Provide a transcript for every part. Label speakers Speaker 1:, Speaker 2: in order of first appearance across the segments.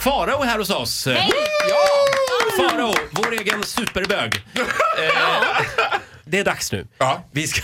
Speaker 1: Farao är här hos oss.
Speaker 2: Hej!
Speaker 1: Farao, vår egen superbög. Eh, det är dags nu.
Speaker 3: Ja.
Speaker 1: Vi ska...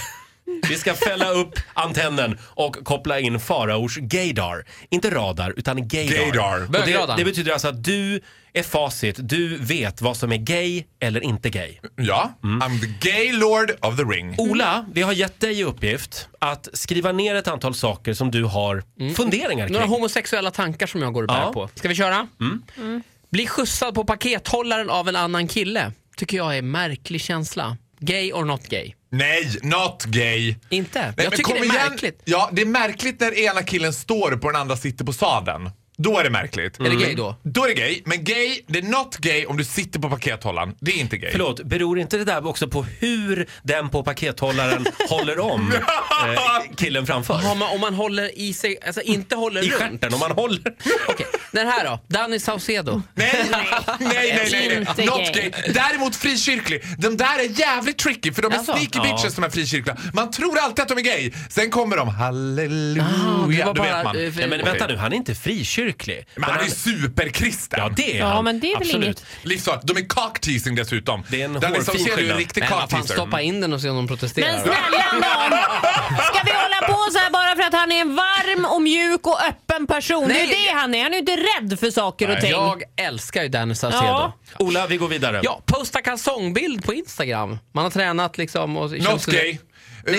Speaker 1: Vi ska fälla upp antennen och koppla in Faraos gaydar. Inte radar, utan gaydar.
Speaker 3: Gaydar.
Speaker 1: Och det,
Speaker 2: Bögradarn.
Speaker 1: det betyder alltså att du är facit. Du vet vad som är gay eller inte gay.
Speaker 3: Ja,
Speaker 2: Mm.
Speaker 3: I'm the gay lord of the ring.
Speaker 2: Oh.
Speaker 1: Ola, vi har gett dig i uppgift att skriva ner ett antal saker som du har funderingar kring.
Speaker 2: Några homosexuella tankar som jag går och bär
Speaker 1: Ja.
Speaker 2: på. Ska vi köra?
Speaker 3: Mm.
Speaker 4: Mm.
Speaker 2: Bli skjutsad på pakethållaren av en annan kille. Tycker jag är en märklig känsla. Gay or not gay?
Speaker 3: Nej, not gay.
Speaker 2: Inte?
Speaker 3: Nej,
Speaker 2: jag
Speaker 3: men
Speaker 2: tycker
Speaker 3: kom
Speaker 2: det är
Speaker 3: igen.
Speaker 2: märkligt.
Speaker 3: Ja, det är märkligt när ena killen står upp och den andra sitter på sadeln. Då är det märkligt. Mm.
Speaker 2: Är det gay då?
Speaker 3: Då är det gay, men gay, det är not gay om du sitter på pakethållaren. Det är inte gay.
Speaker 1: Förlåt, beror inte det där också på hur den på pakethållaren håller om eh, killen framför?
Speaker 2: Om man, om man håller i sig, alltså inte håller
Speaker 1: I
Speaker 2: runt.
Speaker 1: stjärten, om man håller.
Speaker 2: Okej, Den här då? Danny Saucedo.
Speaker 3: Nej, nej, nej, nej,
Speaker 4: Inte
Speaker 3: nej. Not
Speaker 4: gay.
Speaker 3: gay. Däremot frikyrklig. De där är jävligt tricky för de är
Speaker 2: Jaså?
Speaker 3: sneaky
Speaker 1: Ja.
Speaker 3: bitches som är frikyrkliga. Man tror alltid att de är gay. Sen kommer de,
Speaker 2: Ah, det
Speaker 3: halleluja,
Speaker 2: var
Speaker 3: då
Speaker 2: bara,
Speaker 3: vet man.
Speaker 2: eh, för-
Speaker 1: Nej, men
Speaker 2: Okej.
Speaker 1: vänta nu, han är inte frikyrklig.
Speaker 3: Men han är ju superkristen.
Speaker 1: Ja, det är
Speaker 4: Ja,
Speaker 1: han.
Speaker 4: men det är väl
Speaker 1: Absolut.
Speaker 4: inget-
Speaker 3: Liksom, de är cockteasing dessutom.
Speaker 1: Det är en
Speaker 3: Den
Speaker 1: hårfin
Speaker 3: ser ju en
Speaker 1: skillnad.
Speaker 3: riktig
Speaker 2: Men vad fan,
Speaker 3: cockteaser.
Speaker 2: stoppa in den och se om de protesterar.
Speaker 4: Men snälla nån! Ska vi hålla på så här bara för att han är en varm och mjuk och öppen person? Det är
Speaker 2: Nej.
Speaker 4: ju det han är. Han är ju inte rädd för saker och ting.
Speaker 2: jag älskar ju Danny Saucedo.
Speaker 4: Ja.
Speaker 1: Ola, vi går vidare.
Speaker 2: Ja, posta kalsongbild på Instagram. Man har tränat liksom. Och
Speaker 3: Not
Speaker 2: känns-
Speaker 3: gay.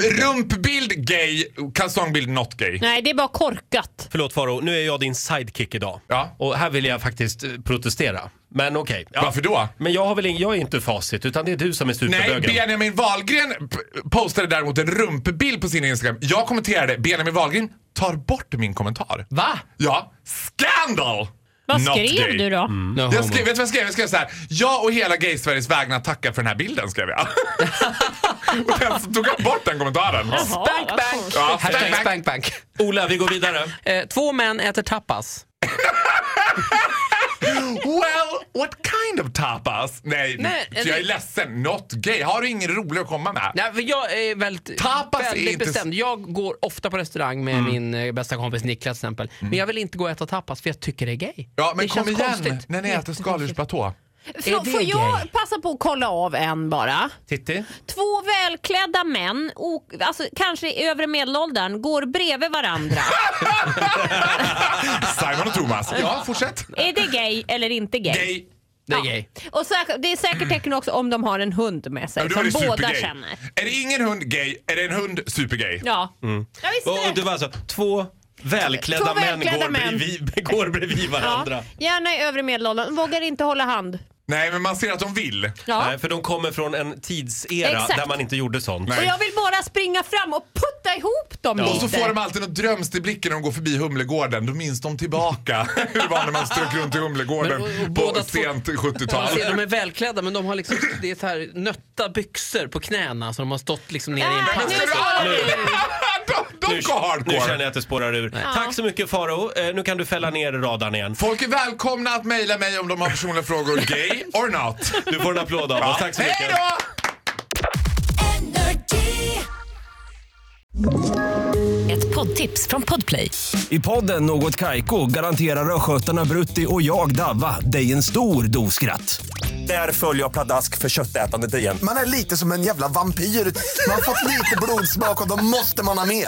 Speaker 3: Rumpbild gay, kalsongbild not gay.
Speaker 4: Nej, det är bara korkat.
Speaker 1: Förlåt Faro, nu är jag din sidekick idag.
Speaker 3: Ja.
Speaker 1: Och här vill jag faktiskt eh, protestera. Men okej. Ja.
Speaker 3: Varför då?
Speaker 1: Men jag, har väl in, jag är inte facit, utan det är du som är
Speaker 3: Nej,
Speaker 1: superbögen.
Speaker 3: Benjamin Wahlgren p- postade däremot en rumpbild på sin Instagram. Jag kommenterade, Benjamin Wahlgren tar bort min kommentar.
Speaker 2: Va?
Speaker 3: Ja, scandal!
Speaker 4: Vad
Speaker 3: Not
Speaker 4: skrev
Speaker 3: gay. Mm.
Speaker 4: du då?
Speaker 2: No
Speaker 3: Jag
Speaker 2: homo.
Speaker 3: skrev, vet du vad jag skrev? Jag skrev så här. Jag och hela Gay-Sveriges vägnar tackar för den här bilden, skrev jag. och sen så tog jag bort den kommentaren.
Speaker 4: Jaha,
Speaker 2: Bank,
Speaker 4: vad
Speaker 2: bank.
Speaker 4: konstigt.
Speaker 3: Ja,
Speaker 2: Hashtag
Speaker 3: tack, tack.
Speaker 2: spank, bank.
Speaker 1: Ola, vi går vidare.
Speaker 2: Eh, två män äter tapas.
Speaker 3: Well, what kind of tapas? Nej,
Speaker 2: Nej,
Speaker 3: jag
Speaker 2: eller-
Speaker 3: är ledsen. Not gay. Har du ingen rolig att komma med?
Speaker 2: Nej, för jag är väldigt,
Speaker 3: Tapas är
Speaker 2: väldigt
Speaker 3: inte- Mm.
Speaker 2: bestämd. Jag går ofta på restaurang med min eh, bästa kompis Niklas till exempel. Men jag vill inte gå och äta tapas för jag tycker det är gay.
Speaker 3: Ja, men
Speaker 2: det
Speaker 3: kom
Speaker 2: känns
Speaker 3: igen
Speaker 2: konstigt.
Speaker 3: när ni äter skaldjursplatå.
Speaker 4: Frå-
Speaker 2: det
Speaker 4: Får
Speaker 2: gay?
Speaker 4: jag passa på att kolla av en bara?
Speaker 1: Titti?
Speaker 4: Två välklädda män, och, alltså, kanske i övre medelåldern, går bredvid varandra.
Speaker 3: Simon och Thomas. Ja, fortsätt.
Speaker 4: är det gay eller inte gay?
Speaker 3: Gay.
Speaker 2: Det är
Speaker 4: Ja.
Speaker 2: gay.
Speaker 4: Och säkert, det är säkert tecken också om de har en hund med sig
Speaker 3: Ja, då är
Speaker 4: som
Speaker 3: det
Speaker 4: båda
Speaker 3: supergay.
Speaker 4: känner.
Speaker 3: Är det ingen hund gay, är det en hund supergay.
Speaker 4: Ja, jag visste
Speaker 1: Mm. Och, och
Speaker 4: det.
Speaker 1: det var alltså två välklädda,
Speaker 4: Två välklädda
Speaker 1: män, går,
Speaker 4: män.
Speaker 1: Bredvid, går bredvid
Speaker 4: Ja.
Speaker 1: varandra.
Speaker 4: Gärna i övre medelåldern, vågar inte hålla hand.
Speaker 3: Nej, men man ser att de vill.
Speaker 4: Ja.
Speaker 1: Nej, för de kommer från en tidsera
Speaker 4: Exakt.
Speaker 1: där man inte gjorde sånt.
Speaker 3: Nej.
Speaker 4: Och jag vill bara springa fram och putta ihop dem
Speaker 3: Och
Speaker 4: lite.
Speaker 3: så får de alltid något drömst i blicken när de går förbi Humlegården. Då minns de tillbaka hur det var när man strök runt i Humlegården
Speaker 2: Men, och- och
Speaker 3: på
Speaker 2: båda två-
Speaker 3: sent
Speaker 2: Man
Speaker 3: 70-tal.
Speaker 2: ser, de är välklädda men de har liksom det är så här, nötta byxor på knäna så de har stått liksom ner i en
Speaker 4: Äh,
Speaker 3: Men
Speaker 2: panna.
Speaker 4: nu
Speaker 3: ser du
Speaker 4: ska-
Speaker 3: aldrig- De de går
Speaker 1: nu känner jag
Speaker 3: hardcore.
Speaker 1: att det spårar ur. Tack så mycket Faro. Eh, nu kan du fälla ner radarn igen.
Speaker 3: Folk är välkomna att mejla mig om de har personliga frågor. Gay or not.
Speaker 1: Du får en applåd av oss. Tack så mycket.
Speaker 3: Hej då!
Speaker 5: Ett poddtips från Podplay.
Speaker 6: I podden Något Kaiko garanterar östgötarna Brutti och jag, Davva, dig en stor dos skratt. Där följer jag pladask för köttätandet igen.
Speaker 7: Man är lite som en jävla vampyr. Man har fått lite blodsmak och då måste man ha mer.